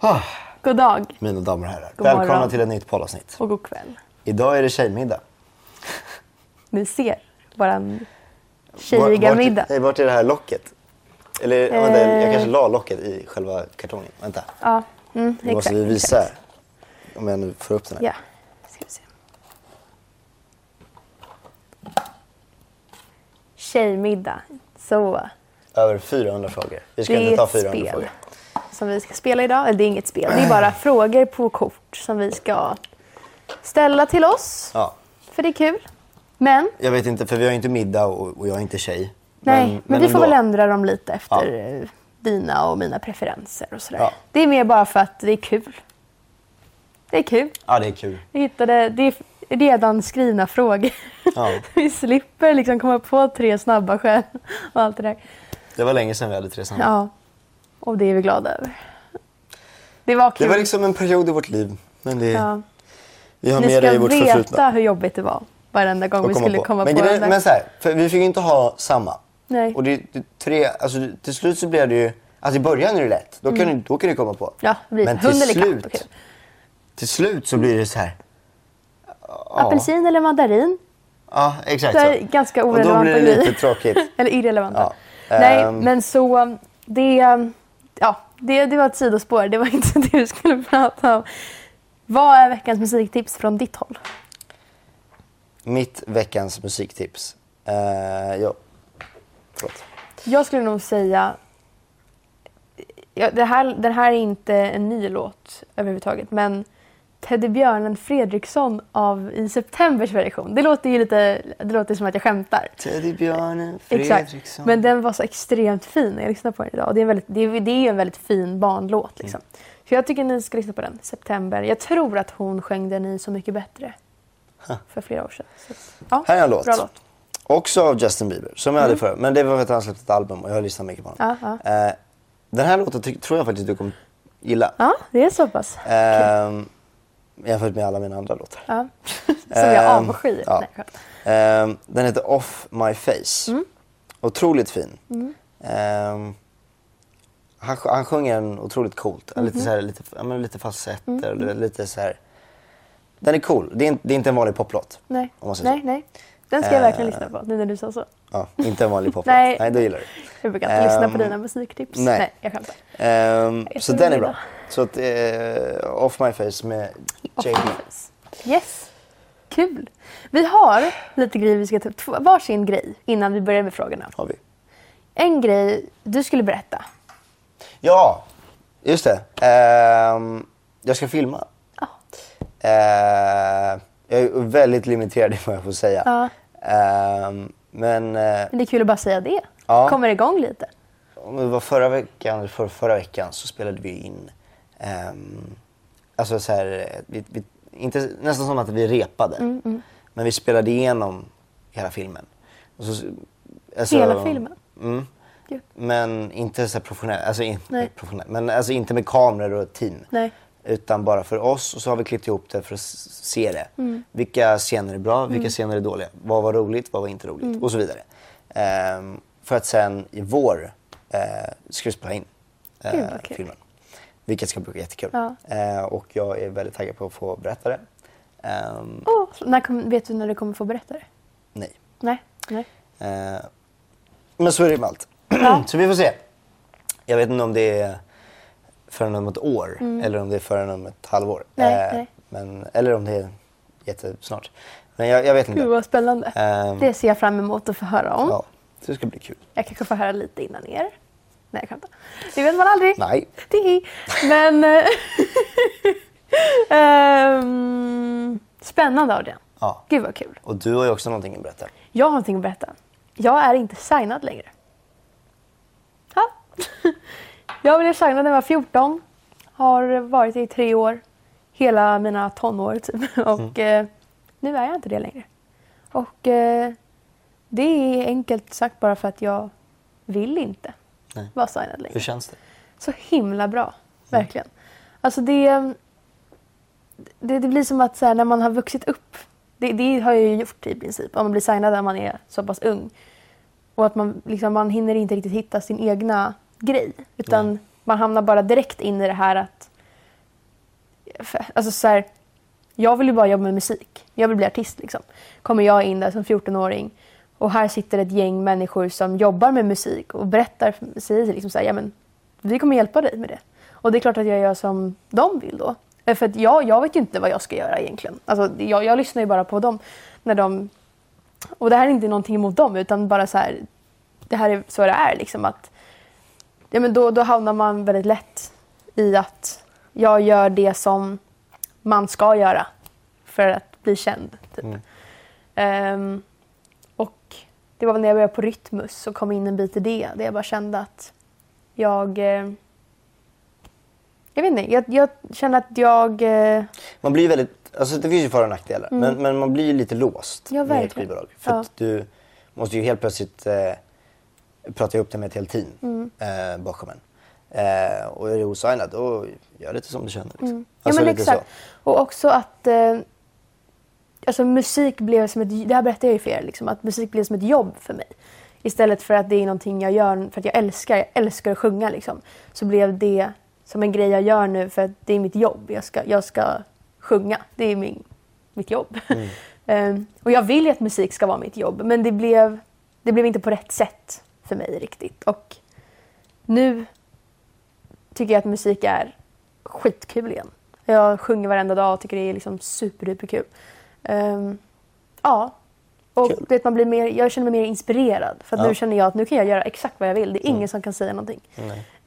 Ah, God dag mina damer och herrar, God välkomna morgon. till ett nytt poddavsnitt. och god kväll. Idag är det tjejmiddag. Ni ser våran Var- tjejiga vart- middag. Nej, vart är det här locket? Eller vänta, Eh. jag kanske la locket i själva kartongen. Vänta, Ja, mm, nu måste exakt. vi visa exakt. här. Om jag nu får upp den här. Ja, ska vi se. Tjejmiddag. Så, Över 400 frågor. Vi ska det inte är ta ett 400 spel frågor. som vi ska spela idag. Eller det är inget spel, det är bara frågor på kort som vi ska ställa till oss. Ja, För det är kul. Men, jag vet inte, för vi har ju inte middag och, och jag är inte tjej. nej, men, vi får ändå. väl ändra dem lite Ja. efter eh, dina och mina preferenser och sådär. Ja. Det är mer bara för att det är kul. Det är kul. Ja, det är kul. Jag hittade, det är redan skrivna frågor. Ja. Vi slipper liksom komma på tre snabba skäl och allt det där. Det var länge sedan vi hade tre samman. Ja, och det är vi glada över. Det var kul. Det var liksom en period i vårt liv. Men det, ja. vi har Ni med det i ska vårt veta förflutna. hur jobbigt det var varenda gång att vi skulle komma men på den grejen- där. men så här, för vi fick ju inte ha samma. Nej. Och det, det, tre, alltså, det- till slut så blev det ju... Alltså i början är det lätt. Då kan, du, då kan du komma på. Mm. Ja, det blir men till hund eller katt och slut, kul. till slut så blir det så här. Apelsin eller mandarin? Ja, exakt Det är så. ganska Och då orelevanta blir det lite grejer. tråkigt. Eller irrelevanta. Ja, Nej, ehm. men så um, det, ja, det, det var ett sidospår. Det var inte det vi skulle prata om. Vad är veckans musiktips från ditt håll? Mitt veckans musiktips. Eh, ja. Förlåt. Jag skulle nog säga... Ja, det här, den här är inte en ny låt överhuvudtaget men Teddybjörnen Fredriksson av I Septembers version. Det låter ju lite det låter som att jag skämtar. Teddybjörnen Exakt. Fredriksson. Men den var så extremt fin när jag lyssnade på den idag. Och det, är en väldigt, det, är, det är ju en väldigt fin Mm. barnlåt. Liksom. Så jag tycker ni ska lyssna på den. September. Jag tror att hon sjöng den i Så mycket bättre. För flera år sedan. Så, ja, Här är en låt. Bra låt. Också av Justin Bieber, som jag hade förut. Men det var för att han släppte ett album och jag har lyssnat mycket på honom. Mm. Ja, Eh, den här låten ty- tror jag faktiskt du kommer gilla. Ja, det är så pass. Ehm, jämfört med alla mina andra låtar. Ja. Som jag Ehm, avskyr. ja. Nej, skönt. Ehm, den heter Off My Face. Mm. Otroligt fin. Ehm, han, sj- han sjunger den otroligt coolt. Lite, Mhm. så här, lite, ja, men lite facetter, Mm. lite så här. Den är cool. Det är, inte- det är inte en vanlig poplåt. Nej. Om man säger nej, nej. Den ska jag Eh, verkligen lyssna på, nu när du sa så. Ja, inte en vanlig poplåt. Nej. Nej, då gillar du. Jag brukar inte lyssna på ehm, dina musiktips. nej. nej jag skämtar. Ehm, Jag så tror den är det. bra. Så att, eh, Off My Face med Och Jake. Memphis. Yes. Kul. Vi har lite grejer vi ska ta upp. Två- Varsin grej innan vi börjar med frågorna. har vi. En grej du skulle berätta. Ja, just det. Ehm, jag ska filma. Ja. Ehm, jag är väldigt limiterad i vad jag får säga. Ja. Ehm, men eh, Men det är kul att bara säga det. Ja. Kommer igång lite. om det var förra veckan, eller för, förra veckan så spelade vi in, ehm, alltså så här, eh, vi, vi, inte, nästan som att vi repade. Mm, Men vi spelade igenom hela filmen. Och så, alltså- Hela filmen? Mm. Gud. Men inte så här professionell, alltså, in, Nej. professionell, men alltså inte med kameror och team. Nej. Utan bara för oss och så har vi klippt ihop det för att s- se det. Mm. Vilka scener är bra, vilka scener är dåliga. Vad var roligt, vad var inte roligt Mm. och så vidare. Ehm, för att sen i vår eh, ska vi spela in eh, Gud, vad kul. filmen. Vilket ska bli jättekul. Ja. Eh, och jag är väldigt taggad på att få berätta det. Ehm, Åh, så när kom, vet du när du kommer få berätta det? Nej. Nej. Nej. Eh, men så är det med allt. Ja. så vi får se. Jag vet inte om det är förrän om ett år eller om det är förrän om ett halvår. Mm. Eh, Nej, nej. Men, eller om det är jättesnart. Men jag, jag vet inte. Gud vad spännande. Ehm, Det ser jag fram emot att få höra om. ja, så det ska bli kul. Jag kanske får höra lite innan er. Nej, jag skämtar. Det vet man aldrig. Nej. Tihi. Men... eh, ehm, spännande Adrian. Ja. Gud vad kul. Och du har ju också någonting att berätta. Jag har någonting att berätta. Jag är inte signad längre. Ja. Jag blev signad när jag var 14. Har varit det i tre år. Hela mina tonår typ. Och eh, nu är jag inte det längre. Och eh, det är enkelt sagt bara för att jag vill inte Nej. vara signad längre. Hur känns det? Så himla bra. Verkligen. Alltså det, det, det blir som att så här, när man har vuxit upp. Det, det har jag ju gjort i princip. Om man blir signad när man är så pass ung. Och att man, liksom, man hinner inte riktigt hitta sin egna grej. Utan man hamnar bara direkt in i det här att för- alltså så här, jag vill ju bara jobba med musik. Jag vill bli artist liksom. Kommer jag in där som 14-åring och här sitter ett gäng människor som jobbar med musik och berättar, för- säger liksom så här, ja men vi kommer hjälpa dig med det. Och det är klart att jag gör som de vill då. Eh, För att jag, jag vet ju inte vad jag ska göra egentligen. Alltså, jag, jag lyssnar ju bara på dem när de... Och det här är inte någonting emot dem utan bara så här, det här är så det är liksom att ja, men då, då hamnar man väldigt lätt i att jag gör det som man ska göra för att bli känd. Typ. Ehm, och det var väl när jag började på Rytmus och kom in en bit i det där jag bara kände att jag... Eh, jag vet inte, jag, jag kände att jag... Eh, Man blir väldigt, alltså det finns ju för och nackdelar, men, men man blir ju lite låst Mm. Ja, med ett verkligen. skivbolag. För Ja. att du måste ju helt plötsligt eh, prata ihop det med ett helt team Mm. eh, bakom en. Eh, och är det osignat, då gör lite som du känner. Liksom. Alltså, Mm. ja men lite exakt. Och också att eh, alltså, musik blev som ett, det här berättade jag ju för er, liksom, att musik blev som ett jobb för mig. Istället för att det är någonting jag gör för att jag älskar, jag älskar att sjunga liksom. Så blev det som en grej jag gör nu för att det är mitt jobb. Jag ska, jag ska sjunga, det är min, mitt jobb. Mm. Ehm, och jag vill ju att musik ska vara mitt jobb men det blev, det blev inte på rätt sätt för mig riktigt. Och nu tycker jag att musik är skitkul igen. Jag sjunger varenda dag och tycker det är liksom superduperkul. Ehm, ja. Och Kul. du vet, man blir mer, jag känner mig mer inspirerad. För att Ja. Mm. nu känner jag att nu kan jag göra exakt vad jag vill. Det är ingen som kan säga någonting.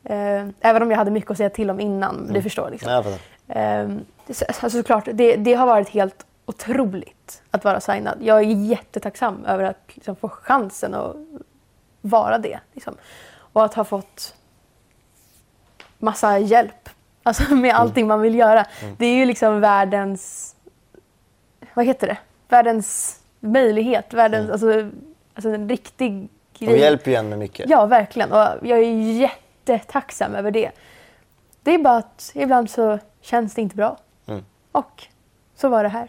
Ehm, även om jag hade mycket att säga till om innan. men Mm. Du förstår liksom. Nej, jag fattar. Ehm, det- så- alltså, såklart, det, det har varit helt otroligt att vara signad. Jag är jättetacksam över att liksom, få chansen att vara det. Liksom. Och att ha fått massa hjälp alltså, med Mm. allting man vill göra. Det är ju liksom världens... Vad heter det? Världens möjlighet. Världens, alltså, alltså en riktig grej. Mm. De hjälper ju en med mycket. Ja, verkligen. Och jag är jättetacksam över det. Det är bara att ibland så känns det inte bra. Mm. Och så var det här.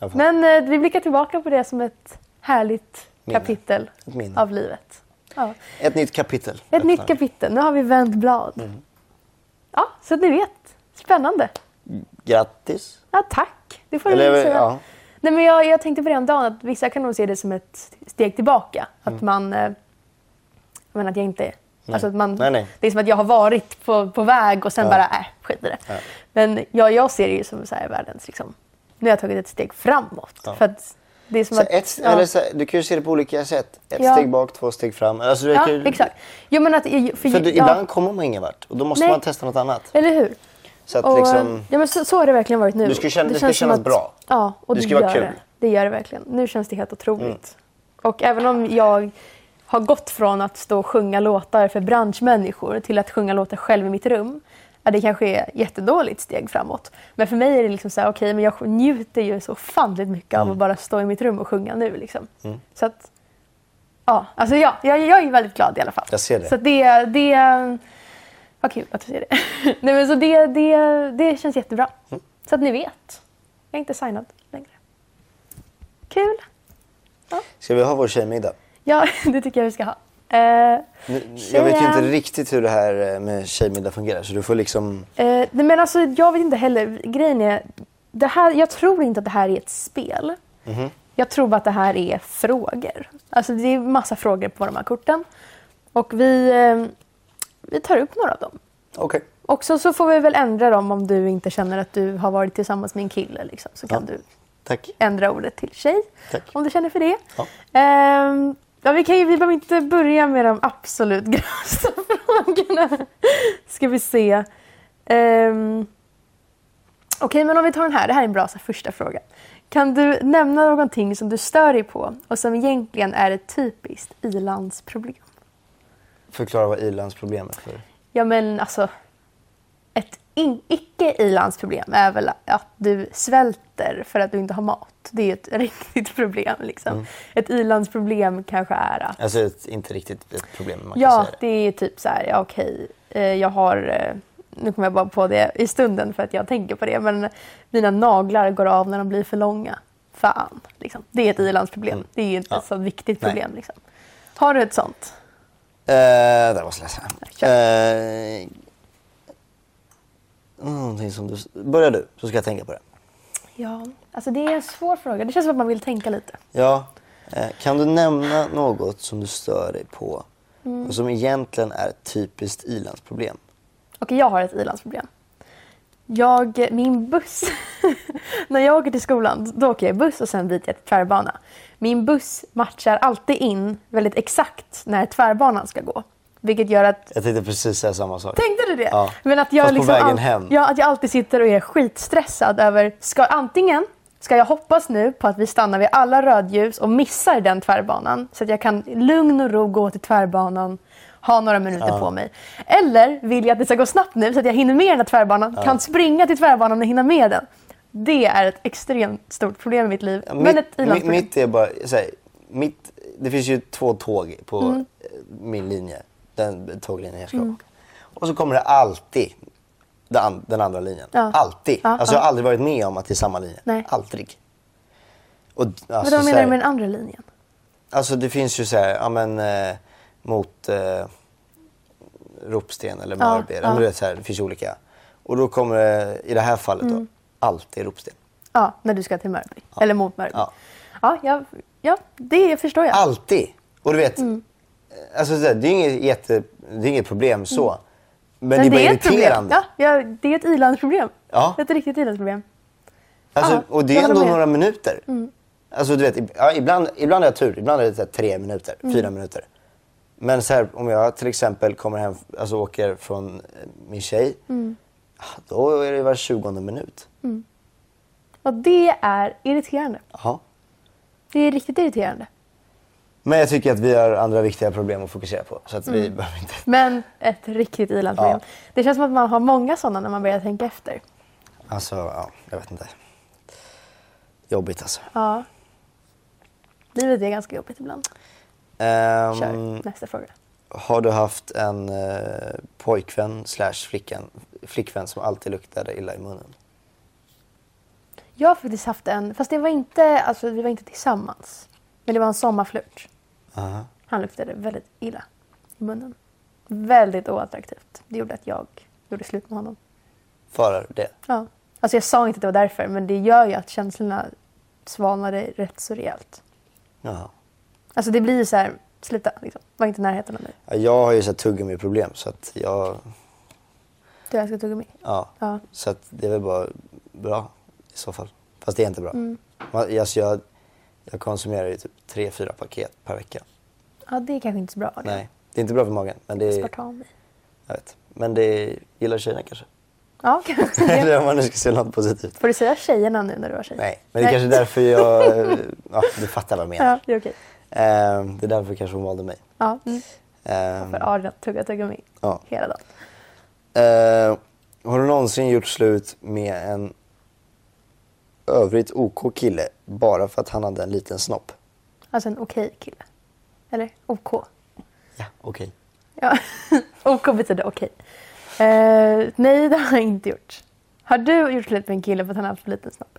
Jag fattar. Men eh, vi blickar tillbaka på det som ett härligt Minne. kapitel Ett minne. av livet. Ja. Ett nytt kapitel. Ett öppnar nytt vi. kapitel. Nu har vi vänt blad. Mm. Ja, så att ni vet. Spännande. Grattis. Ja, tack. Det får du Eller, väl säga. ja. Nej, men jag, jag tänkte på det om dagen att vissa kan nog se det som ett steg tillbaka. Att man... eh, Jag menar att jag inte... Alltså att man, Mm. Nej, nej. Det är som att jag har varit på, på väg och sen Ja. bara, äh, skit i det. Ja. Men jag, jag ser det ju som så här världens... Liksom, nu har jag tagit ett steg framåt. Ja. För att det är som Så att... ett, ja. eller så, du kan ju se det på olika sätt. Ett Ja. steg bak, två steg fram. Alltså, det ja, kan ju- exakt. Jo, men att, för, För du, ja, ibland kommer man ingen vart och då måste Nej. man testa något annat. Eller hur? Så att Och, liksom, ja, men så, så har det verkligen varit nu. Du ska känna- det ska känns som kännas bra. Ja, och Det det, ska vara gör kul. Mm. det. Det gör det verkligen. Nu känns det helt otroligt. Och även om jag har gått från att stå och sjunga låtar för branschmänniskor till att sjunga låtar själv i mitt rum. Ja, det kanske är ett jättedåligt steg framåt. Men för mig är det liksom så här, okej, men jag njuter ju så ofantligt mycket Mm. av att bara stå i mitt rum och sjunga nu. Liksom. Så att, ja, alltså ja, jag, jag är väldigt glad i alla fall. Jag ser det. Så att det, det vad kul att du säger det. Nej, men så det, det, det känns jättebra. Mm. Så att ni vet. Jag är inte signad längre. Kul. ska vi ha vår tjejmiddag? Ja, det tycker jag vi ska ha. Eh, Nu- Jag vet ju Tjejen. inte riktigt hur det här eh, med tjejmiddag fungerar så du får liksom... Eh, nej, men alltså, jag vet inte heller. Grejen är, det här, jag tror inte att det här är ett spel. Mm-hmm. Jag tror bara att det här är frågor. Alltså, det är massa frågor på de här korten. Och vi, eh, vi tar upp några av dem. Okej. Och så, så får vi väl ändra dem om du inte känner att du har varit tillsammans med en kille. Liksom, så kan Ja. du Tack. ändra ordet till tjej. Tack. Om du känner för det. Ja. Ehm, ja, vi, kan ju, vi behöver inte börja med de absolut grövsta frågorna. Ska vi se. Ehm, Okej, men om vi tar den här. Det här är en bra så här, första fråga. Kan du nämna någonting som du stör dig på och som egentligen är ett typiskt i-landsproblem? Förklara vad i-landsproblem är för. Ja, men alltså... Ett in- icke-i-landsproblem är väl att du svälter för att du inte har mat. Det är ett riktigt problem. Liksom. Mm. Ett i-landsproblem kanske är att... Alltså ett, inte riktigt ett problem man kan Ja, säga det är typ så här, ja, okej, eh, jag har... eh, Nu kommer jag bara på det i stunden för att jag tänker på det, men mina naglar går av när de blir för långa. Fan, liksom. det är ett i-landsproblem. Det är ett Mm. Ja. så viktigt Nej. problem. Liksom. Har du ett sånt? Eh, där var jag ledsen. Kör. Eh, någonting som du... Börja du, så ska jag tänka på det. Ja, alltså det är en svår fråga. Det känns som att man vill tänka lite. Ja. Eh, kan du nämna något som du stör dig på och som egentligen är ett typiskt ilandsproblem? Okej, jag har ett ilandsproblem. Jag, min buss, när jag åker till skolan då åker jag i buss och sen byter jag till tvärbana. Min buss matchar alltid in väldigt exakt när tvärbanan ska gå. Vilket gör att, Jag tänkte precis säga samma sak. tänkte du det? Ja. Men att jag Fast på liksom vägen al- hem. Ja, att jag alltid sitter och är skitstressad över, ska antingen ska jag hoppas nu på att vi stannar vid alla rödljus och missar den tvärbanan så att jag kan i lugn och ro gå till tvärbanan ha några minuter på mig. Eller vill jag att det ska gå snabbt nu så att jag hinner med den här tvärbanan, kan springa till tvärbanan och hinna med den. Det är ett extremt stort problem i mitt liv. Ja, men mitt- ett mi- ilandsproblem. Mitt är bara... Så här, mitt, det finns ju två tåg på Mm. eh, min linje. Den tåglinjen jag ska åka. Och så kommer det alltid den, an- den andra linjen. Ja. Alltid. Ja, alltså, ja. Jag har aldrig varit med om att det är samma linje. Nej. Aldrig. Och, d- Men alltså, vad så menar här- du med den andra linjen? Alltså det finns ju så här, ja men eh, mot eh, Ropsten eller Ja, Mörby. ja. Ja, ja. här, det finns ju olika. Och då kommer det, i det här fallet Mm. då, alltid Ropsten. Ja, när du ska till Mörby. Eller mot Mörby. Ja, Ja. jag, ja det förstår jag. Alltid! Och du vet, eh, alltså så här, det är ju inget, jätte, det är inget problem så. Men, det är bara ett problem. irriterande. Ja, ja, det är ett ilandsproblem. Ja. Ett riktigt ilandsproblem. Alltså, Ja, och det jag är håller med. ändå Mm. några minuter. Alltså du vet, ib- ja, ibland, ibland har jag tur. Ibland är det så här tre minuter, Mm. fyra minuter. Men så här, om jag till exempel kommer hem, alltså åker från eh, min tjej. Mm. ah, Då är det var tjugonde minut. Och det är irriterande. Jaha. Det är riktigt irriterande. Men jag tycker att vi har andra viktiga problem att fokusera på. Så att vi Mm. behöver inte... Men ett riktigt ilandsproblem. Ja. Det känns som att man har många sådana när man börjar tänka efter. Alltså, ja, jag vet inte. Jobbigt alltså. Ja. Livet är ganska jobbigt ibland. Ehm, Kör nästa fråga. Har du haft en eh, pojkvän slash flickan- flickvän som alltid luktade illa i munnen? Jag har faktiskt haft en, fast det var inte, alltså, vi var inte tillsammans. Men det var en sommarflirt. Aha. Han luktade väldigt illa i munnen. Väldigt oattraktivt. Det gjorde att jag gjorde slut med honom. För det? Ja. Alltså jag sa inte att det var därför, men det gör ju att känslorna svalnade rätt så rejält. Jaha. Alltså det blir ju så här, sluta, liksom. var inte i närheten av mig. Ja, Jag har ju så här tuggummi-problem så att jag... Du älskar tuggummi. Ja. Ja. Så att det är väl bara bra i så fall. Fast det är inte bra. Mm. Man, alltså jag, jag konsumerar ju typ tre, fyra paket per vecka. Ja, det är kanske inte så bra. Liksom. Adrian. Nej, det är inte bra för magen. Men det är, Aspartam i. jag vet. Men det gillar tjejerna kanske. Ja, kanske det. Eller om man nu ska se något positivt. Får du säga tjejerna nu när du var tjej? Nej, men det är kanske är därför jag... Ja, du fattar vad jag menar. Ja, det är okej. Eh, det är därför kanske hon valde mig. Ja, mm. Eh, för Adrian tuggar tuggummi Ja. hela dagen. Eh, har du någonsin gjort slut med en övrigt OK kille bara för att han hade en liten snopp? Alltså en okej kille. Eller OK. Ja, okej. Ja. OK betyder okej. Eh, nej, det har jag inte gjort. Har du gjort slut med en kille för att han har haft för liten snopp?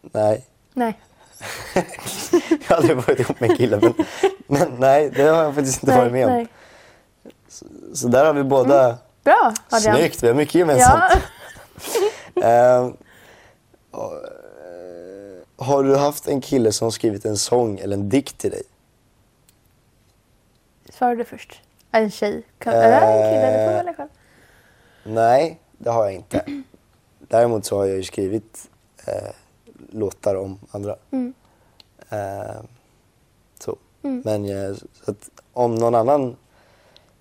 Nej, Nej. jag har aldrig varit ihop med en kille. Men, men nej, det har jag faktiskt inte nej, varit med om. nej. Mm. Så där har vi båda... Bra, Adrian. Snyggt, vi har mycket gemensamt. Ja. Eh, och, eh, har du haft en kille som skrivit en sång eller en dikt till dig? Svarar du först? En tjej? Kan, eller en kille? Du får välja själv. Nej, det har jag inte. Däremot så har jag ju skrivit eh, låtar om andra. Mm. Eh, så. Men jag, så att om någon annan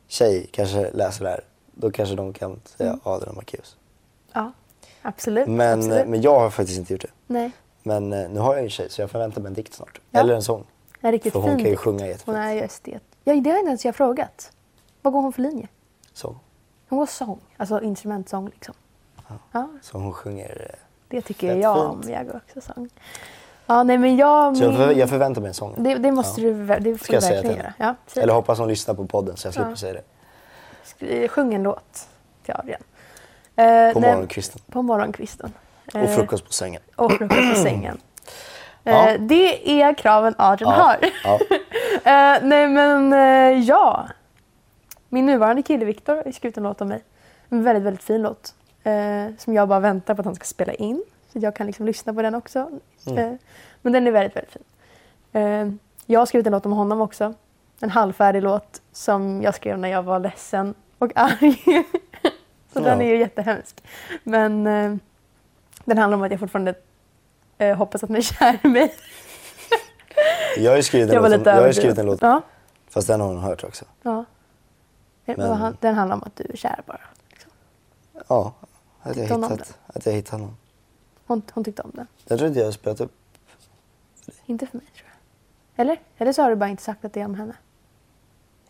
tjej kanske läser det här, då kanske de kan säga Mm. Adrian Marcus. Ja, absolut. Men, eh, absolut. men jag har faktiskt inte gjort det. Nej, Men eh, nu har jag ju en tjej så jag förväntar mig en dikt snart. Ja. Eller en sång. en riktigt För hon fin kan ju dikt. sjunga Hon jättefint. är ju estet. Ja, det har inte ens jag frågat. Vad går hon för linje? Sång. Hon går sång, alltså instrumentsång liksom. Ja, Så hon sjunger. eh, det tycker Fett jag fint. om. Jag går också sång. Ja, nej men jag... Så jag, min- förvä- jag förväntar mig en sång. det, det måste du, ver- det får Ska jag du säga till verkligen henne? göra. Ja, säg Eller det. hoppas hon lyssnar på podden så jag slipper Ja. säga det. Sk- eh, Sjung en låt till Adrian. Eh, På nej, morgonkvisten. På morgonkvisten. Och Eh, frukost på sängen. och frukost i sängen. Ja. Eh, det är kraven Adrian Ja, har. ja. eh, nej men eh, ja. Min nuvarande kille Viktor har skrivit en låt om mig. En väldigt, väldigt fin låt. Eh, som jag bara väntar på att han ska spela in. Så att jag kan liksom lyssna på den också. Mm. Eh, men den är väldigt, väldigt fin. Eh, jag har skrivit en låt om honom också. En halvfärdig låt som jag skrev när jag var ledsen och arg. så Ja. den är ju jättehemsk. Men eh, den handlar om att jag fortfarande eh, hoppas att ni är kär i mig. Jag har ju skrivit en, Jag var låt, om, lite jag har ju överdriven. skrivit en låt, Ja, fast den har hon hört också. ja. Men... Men- vad han- Den handlar om att du är kär bara. Liksom. Ja, att jag Tyckte hon om hittat, att jag hittat någon. Hon, hon tyckte om den. Jag tror inte jag har spelat upp. Inte för mig tror jag. Eller? Eller så har du bara inte sagt att det är om henne.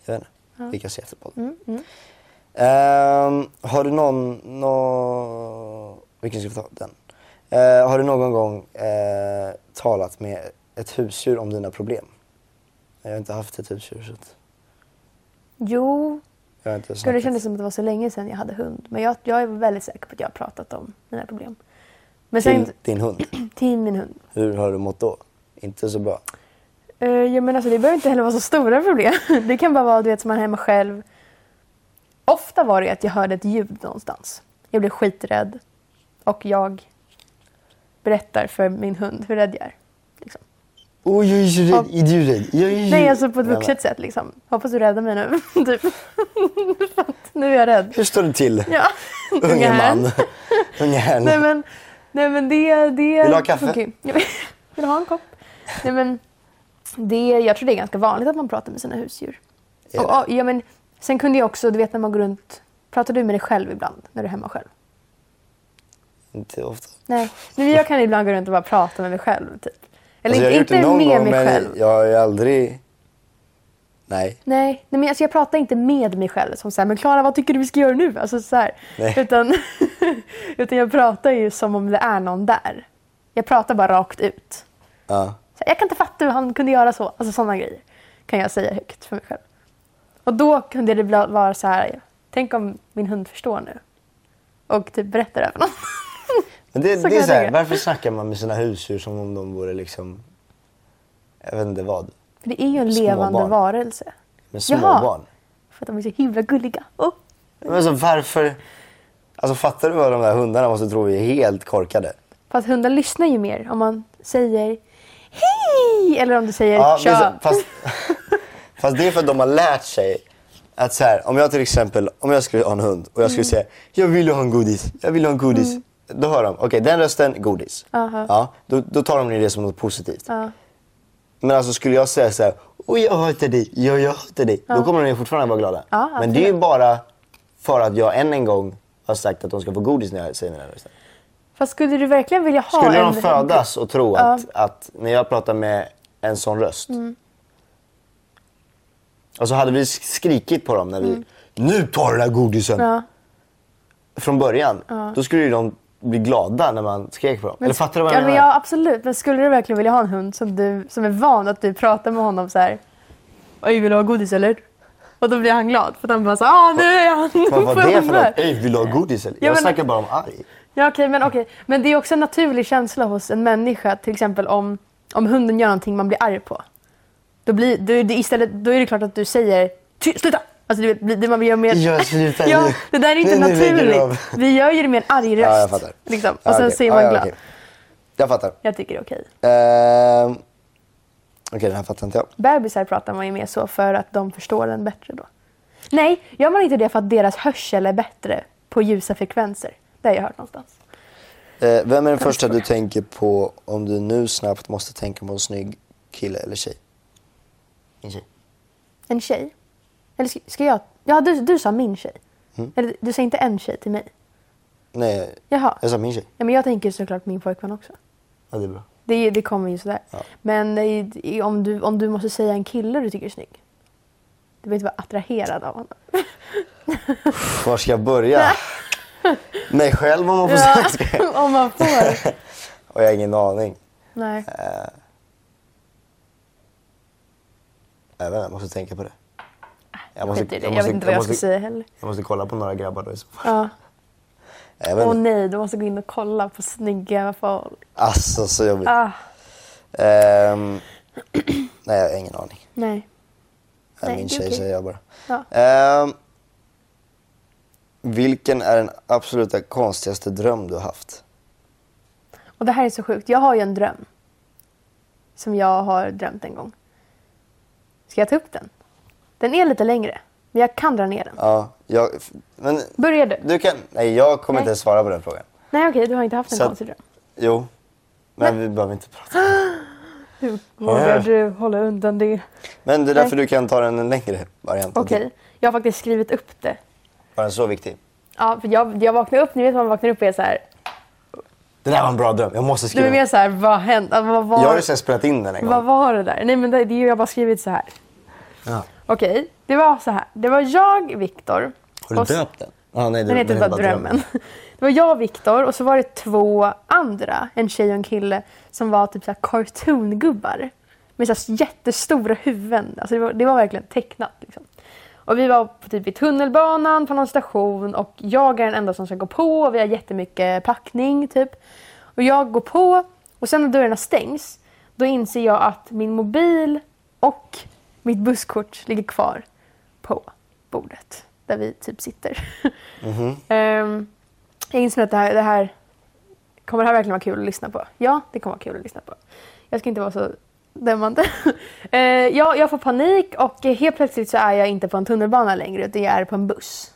Jag vet inte. Vi kan se efter på Mm, mm. Ehm, har du någon, nå... vilken ska vi ta? Den. Eh, har du någon gång eh, talat med ett husdjur om dina problem? Jag har inte haft ett husdjur så att Jo, jag har inte Gud, det snackat. kändes som att det var så länge sedan jag hade hund. Men jag, jag är väldigt säker på att jag har pratat om mina problem. Men sen Din, till, din hund, min hund. hur har du mått då? Inte så bra. Uh, jag menar, alltså, det behöver inte heller vara så stora problem. Det kan bara vara du vet, som man är hemma själv. Ofta var det att jag hörde ett ljud någonstans. Jag blev skiträdd och jag berättar för min hund hur rädd jag är. Liksom. Oj, jag är så rädd. Är du rädd? Jag är så- Nej, alltså på ett Nej, vuxet sätt. Liksom. Hoppas du räddar mig nu. typ. För att nu är jag rädd. men Hur står det till, Ja. unge herrn. man? Unge herrn. Nej men, nej men det, det... Vill du ha kaffe? Okej. Vill du ha en kopp? Nej men, det, jag tror det är ganska vanligt att man pratar med sina husdjur. Är Och, det? och, ja, men, sen kunde jag också, du vet när man går runt... Pratar du med dig själv ibland när du är hemma själv? Inte ofta. Alltså, Nej. Nej, men jag kan ibland gå runt och bara prata med mig själv. Typ. Eller Alltså, jag har gjort inte, det inte någon med gång, mig men själv. Jag har ju aldrig... Nej. Nej, nej men alltså jag pratar inte med mig själv som så här, men Klara vad tycker du vi ska göra nu? Alltså så här. Nej. Utan, utan jag pratar ju som om det är någon där. Jag pratar bara rakt ut. Ja. Så här, jag kan inte fatta hur han kunde göra så. Alltså sådana grejer kan jag säga högt för mig själv. Och då kunde det bli- vara så här, tänk om min hund förstår nu. Och typ berättar över någon. Men det, Så det kan är jag så här, tänka. varför snackar man med sina husdjur som om de vore liksom... Jag vet inte vad. För det är ju en Små levande barn. varelse. Men små Jaha. barn. För att de är så himla gulliga. Oh. Men alltså varför... Alltså fattar du vad de där hundarna måste tro vi är helt korkade? Fast hundar lyssnar ju mer om man säger hej eller om du säger men tja. så- fast, fast det är för att de har lärt sig att så här, om jag till exempel, om jag skulle ha en hund och jag skulle Mm. säga jag vill ju ha en godis, jag vill ha en godis. Då hör de, okej den rösten, godis. Aha. Ja, då, då tar de det som något positivt. Ja. Men alltså skulle jag säga så här, "Oj, jag hatar dig, ja, jag hatar dig. Då kommer de ju fortfarande vara glada. Ja, Men det är ju bara för att jag än en gång har sagt att de ska få godis när jag säger den här rösten. Fast skulle du verkligen vilja ha Skulle en de födas och tro Ja. att, att när jag pratar med en sån röst och så hade vi skrikit på dem när vi Nu tar du den här godisen! Mm. Ja. Från början. Då skulle ju de bli glada när man skrek på dem. Eller fattar du vad jag ja, men menar? ja, absolut. Men skulle du verkligen vilja ha en hund som, du, som är van att du pratar med honom så här. Oj, vill du ha godis eller? Och då blir han glad för att han bara så ah nu är han Vad var på det för humör." något? Ey, vill du ha godis eller? Ja, jag men- snackar bara om arg. Ja, okej, men, okej. men det är också en naturlig känsla hos en människa. Till exempel om, om hunden gör någonting man blir arg på. Då, blir, då, är det istället, då är det klart att du säger "Ty- sluta! Alltså, du vet, blir- det man gör mer... Jag slutar ja, nu. Det där är inte Nu- nu lägger du av. naturligt. Vi gör ju det med en arg röst. Ja, jag fattar. Liksom. Och Ja, sen okej. säger Ja, man ja, glad. okej. Jag fattar. Jag tycker det är okej. Ehm, Okej, den här fattar inte jag. Bebisar pratar man ju med så för att de förstår den bättre då. Nej, gör man inte det för att deras hörsel är bättre på ljusa frekvenser? Det har jag hört någonstans. Eh, vem är den första du tänker på om du nu snabbt måste tänka på en snygg kille eller tjej? En tjej. En tjej? Eller ska, ska jag? Ja, du, du sa min tjej. Mm. Eller, du sa inte en tjej till mig. Nej, Jaha. jag sa min tjej. Ja, men jag tänker såklart min pojkvän också. Ja, det är bra. Det, är- det kommer ju sådär. Ja. Men i, i, om, du, om du måste säga en kille du tycker är snygg. Du behöver inte vara attraherad av honom. Var ska jag börja? Mig själv om man får säga. om man får. Och jag har ingen aning. Nej. Jag, vet, inte, jag måste tänka på det. Jag, skit i det. jag vet inte vad jag ska säga heller. jag måste kolla på några grabbar då i så fall. Ja. Jag vet Åh inte. nej, du måste gå in och kolla på snygga folk. Alltså så jobbigt. Ah, Ehm, nej, jag har ingen aning. nej. Nej, Nej, min det är tjej okej. säger jag bara. Ja. Ehm, Vilken är den absoluta konstigaste dröm du har haft? Och det här är så sjukt. Jag har ju en dröm. Som jag har drömt en gång. Ska jag ta upp den? Den är lite längre, men jag kan dra ner den. Ja, jag... Men Börjar du? du kan... Nej, jag kommer Nej. inte ens svara på den frågan. Nej okej, du har inte haft en Så att- konstig dröm. Jo. Men vi behöver inte prata. Hur vågar du hålla undan det? Men det är därför du kan ta den en längre variant. Okej, Det- jag har faktiskt skrivit upp det. Var den så viktig? Ja, för jag, jag vaknar upp, ni vet när man vaknar upp och är så här. Det där var en bra dröm. Jag måste Du skriva. är mer så här, vad hände? Vad Jag har var, ju sen spelat in den en vad gång. var det där? Nej men det, det är ju- jag har bara skrivit så här. Ja. Okej, det var så här. Det var jag, Viktor. Har du och- döpt den? Ah, nej, det, Den heter det bara är Drömmen. Det var jag, Viktor och så var det två andra, en tjej och en kille, som var typ så här cartoon-gubbar. Med så här jättestora huvuden. Alltså det, var, det var verkligen tecknat. Liksom. Och vi var på, typ i tunnelbanan på någon station och jag är den enda som ska gå på och vi har jättemycket packning typ. Och jag går på och sen när dörrarna stängs då inser jag att min mobil och mitt busskort ligger kvar på bordet där vi typ sitter. Ehm, jag inser att det här, det här kommer det här verkligen vara kul att lyssna på? Ja, det kommer vara kul att lyssna på. Jag ska inte vara så dömande. Eh, jag, jag får panik och helt plötsligt så är jag inte på en tunnelbana längre utan jag är på en buss.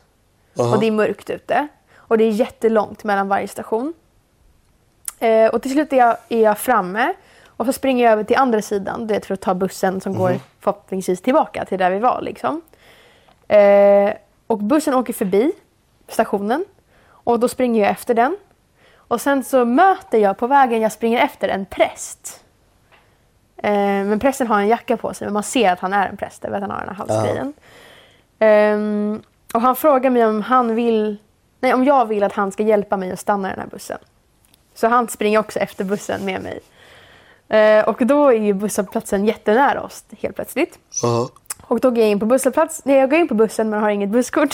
Och det är mörkt ute. Och det är jättelångt mellan varje station. Eh, och till slut är jag, är jag framme och så springer jag över till andra sidan du vet, för att ta bussen som går förhoppningsvis tillbaka till där vi var. Liksom. Eh, och bussen åker förbi stationen och då springer jag efter den. Och sen så möter jag på vägen jag springer efter en präst. Eh, men prästen har en jacka på sig men man ser att han är en präst, därför att han har den här halsgrejen. Ehm, och han frågar mig om han vill, nej om jag vill att han ska hjälpa mig att stanna den här bussen. Så han springer också efter bussen med mig. Eh, och då är ju busshållplatsen jättenära oss helt plötsligt. Ja. Och då går jag in på busshållplats. Nej, jag går in på bussen men har inget busskort.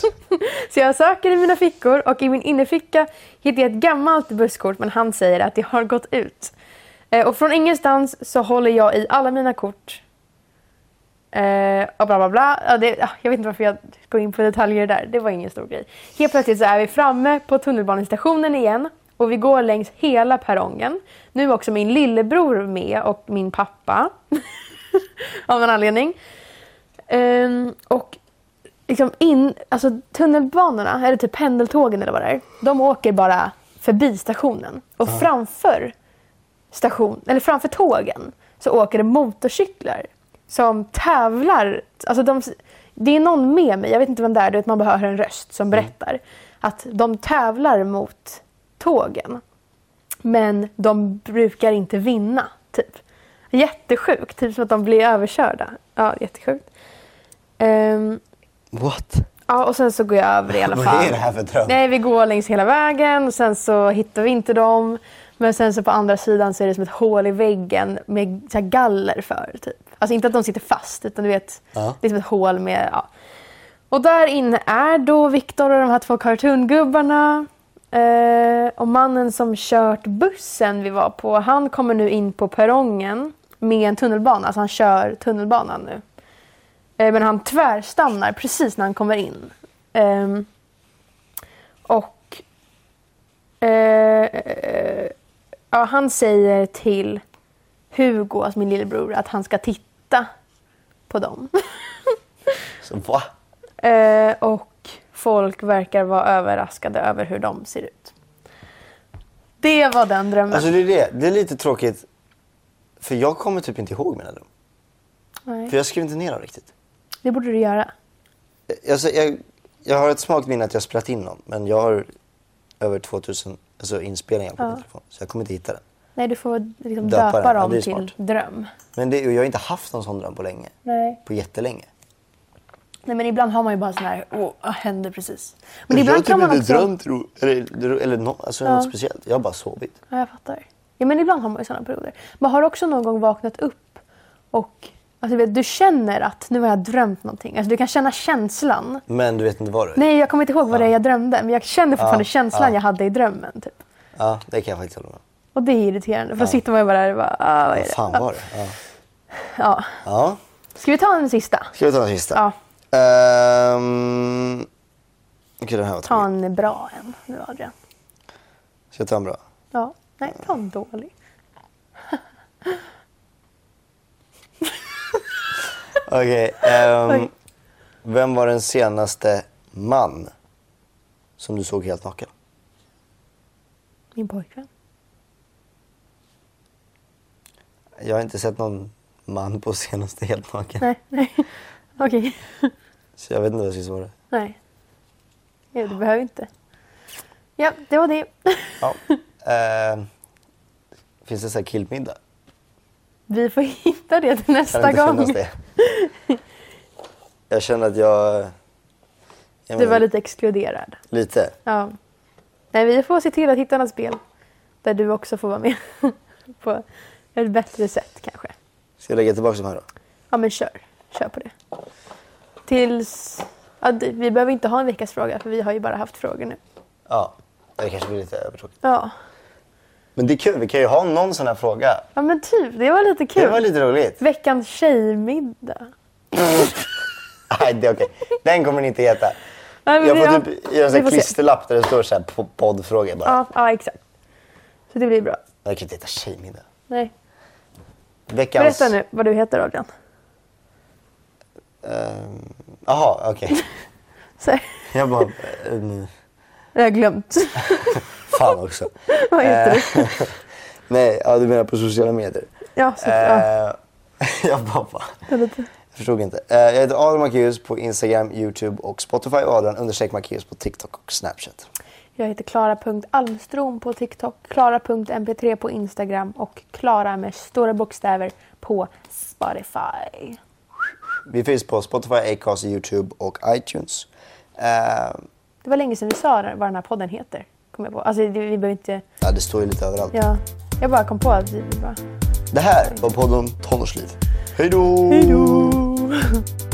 så jag söker i mina fickor och i min innerficka hittar jag ett gammalt busskort men han säger att det har gått ut. Eh, och från ingenstans så håller jag i alla mina kort. Eh, och bla bla bla. Ja, det, ah, jag vet inte varför jag går in på detaljer där. Det var ingen stor grej. Helt plötsligt så är vi framme på tunnelbanestationen igen och vi går längs hela perrongen. Nu är också min lillebror med och min pappa. Av någon anledning. Ehm, och liksom in, alltså tunnelbanorna, eller typ pendeltågen eller vad det är, de åker bara förbi stationen. Och framför station, eller framför tågen så åker det motorcyklar som tävlar. Alltså de, det är någon med mig, jag vet inte vem det är, du vet, man bara hör en röst som berättar att de tävlar mot tågen. Men de brukar inte vinna, typ. Jättesjukt, typ som att de blir överkörda. Ja, jättesjukt. Ehm, What? ja, och sen så går jag över i alla fall. Vad är det här för dröm? Nej, vi går längs hela vägen och sen så hittar vi inte dem. Men sen så på andra sidan så är det som ett hål i väggen med så här galler för. Typ. Alltså inte att de sitter fast utan du vet, Ja. det är som ett hål med... Ja. Och där inne är då Viktor och de här två cartoongubbarna. Eh, och mannen som kört bussen vi var på, han kommer nu in på perrongen med en tunnelbana. Alltså han kör tunnelbanan nu. Eh, men han tvärstannar precis när han kommer in. Ehm, och eh, eh, ja, han säger till Hugo, alltså min lillebror, att han ska titta på dem. Så, va? Eh, och folk verkar vara överraskade över hur de ser ut. Det var den drömmen. Alltså det är det. Det är lite tråkigt. För jag kommer typ inte ihåg mina drömmar. För Nej. jag skrev inte ner dem riktigt. Det borde du göra. Alltså, jag, jag har ett svagt minne att jag har spelat in någon. Men jag har över 2000 alltså, inspelningar på min telefon. Så jag kommer inte hitta den. Nej, du får liksom Döpa döpa, den. Ja, dem det är till smart. dröm. Men det, och jag har inte haft någon sån dröm på länge. Nej. På jättelänge. Nej, men ibland har man ju bara sån här, åh, vad hände precis? Men Men jag ibland har kan typ man inte också... drömt ro- eller, eller nå- alltså, något speciellt. Jag har bara sovit. Ja, jag fattar. Ja, men ibland har man ju sådana perioder. Man har också någon gång vaknat upp och alltså, du, vet, du känner att nu har jag drömt någonting. Alltså, du kan känna känslan. Men du vet inte vad det är? Nej, jag kommer inte ihåg vad det är jag drömde, men jag känner fortfarande Ja, känslan ja. jag hade i drömmen. Typ. Ja, det kan jag faktiskt hålla med om. Och det är irriterande, för då sitter man ju bara där och bara, ah, vad är Vad det? fan var det? Ja. Ja. ja. Ska vi ta en sista? Ska vi ta den sista? Ja. Ehm, Okej, den här var Ta tråkig. en bra en nu Adrian. Ska jag ta en bra? Ja, nej ta en dålig. Okej. ehm, Oj. vem var den senaste man som du såg helt naken? Min pojkvän. Jag har inte sett någon man på senaste helt naken. Nej, nej. Okej. Så jag vet inte vad jag ska svara. Nej. Ja, du behöver inte. Ja, det var det. Ja. Ehm, finns det så här killmiddag? Vi får hitta det till Kan det nästa inte gång. finnas Det. det? Jag känner att jag... jag Du menar, var lite exkluderad. Lite? Ja. Nej, vi får se till att hitta något spel där du också får vara med. på ett bättre sätt kanske. Ska jag lägga tillbaka de här då? Ja, men kör. Kör på det. Tills... Ja, det- vi behöver inte ha en veckas fråga för vi har ju bara haft frågor nu. Ja. Det kanske blir lite övertråkigt. Ja, Men det är kul, vi kan ju ha någon sån här fråga. ja men typ. Det var lite kul. Det var lite roligt. Veckans tjejmiddag. Nej, det är okej. Den kommer ni inte heta. Nej, men Jag det- får typ göra en sån vi här får se. klisterlapp där det står så här på poddfrågor bara. Ja, ja, exakt. Så det blir bra. Jag kan inte heta tjejmiddag. Nej. Veckans... Berätta nu vad du heter Adrian. Ehm, Jaha, okej. Så, Jag bara... ehm, jag har glömt. fan också. vad heter Eh. du? Nej, ja, du menar på sociala medier? Ja, så, ja. Eh, jag bara... va? det är lite- Jag förstod inte. Eh, jag heter Adam Marcus på Instagram, Youtube och Spotify och Adrian understreck Marcus på TikTok och Snapchat. Jag heter klara.almstrom på TikTok, klara.mp3 på Instagram och klara med stora bokstäver på Spotify. Vi finns på Spotify, Acast, Youtube och iTunes. Eh, Det var länge sedan vi sa vad den här podden heter. Kom jag på. Alltså, det- vi behöver inte... ja, det står ju lite överallt. Ja, jag bara kom på att vi bara... Det här var podden Tonårsliv. Hej då! Hej då!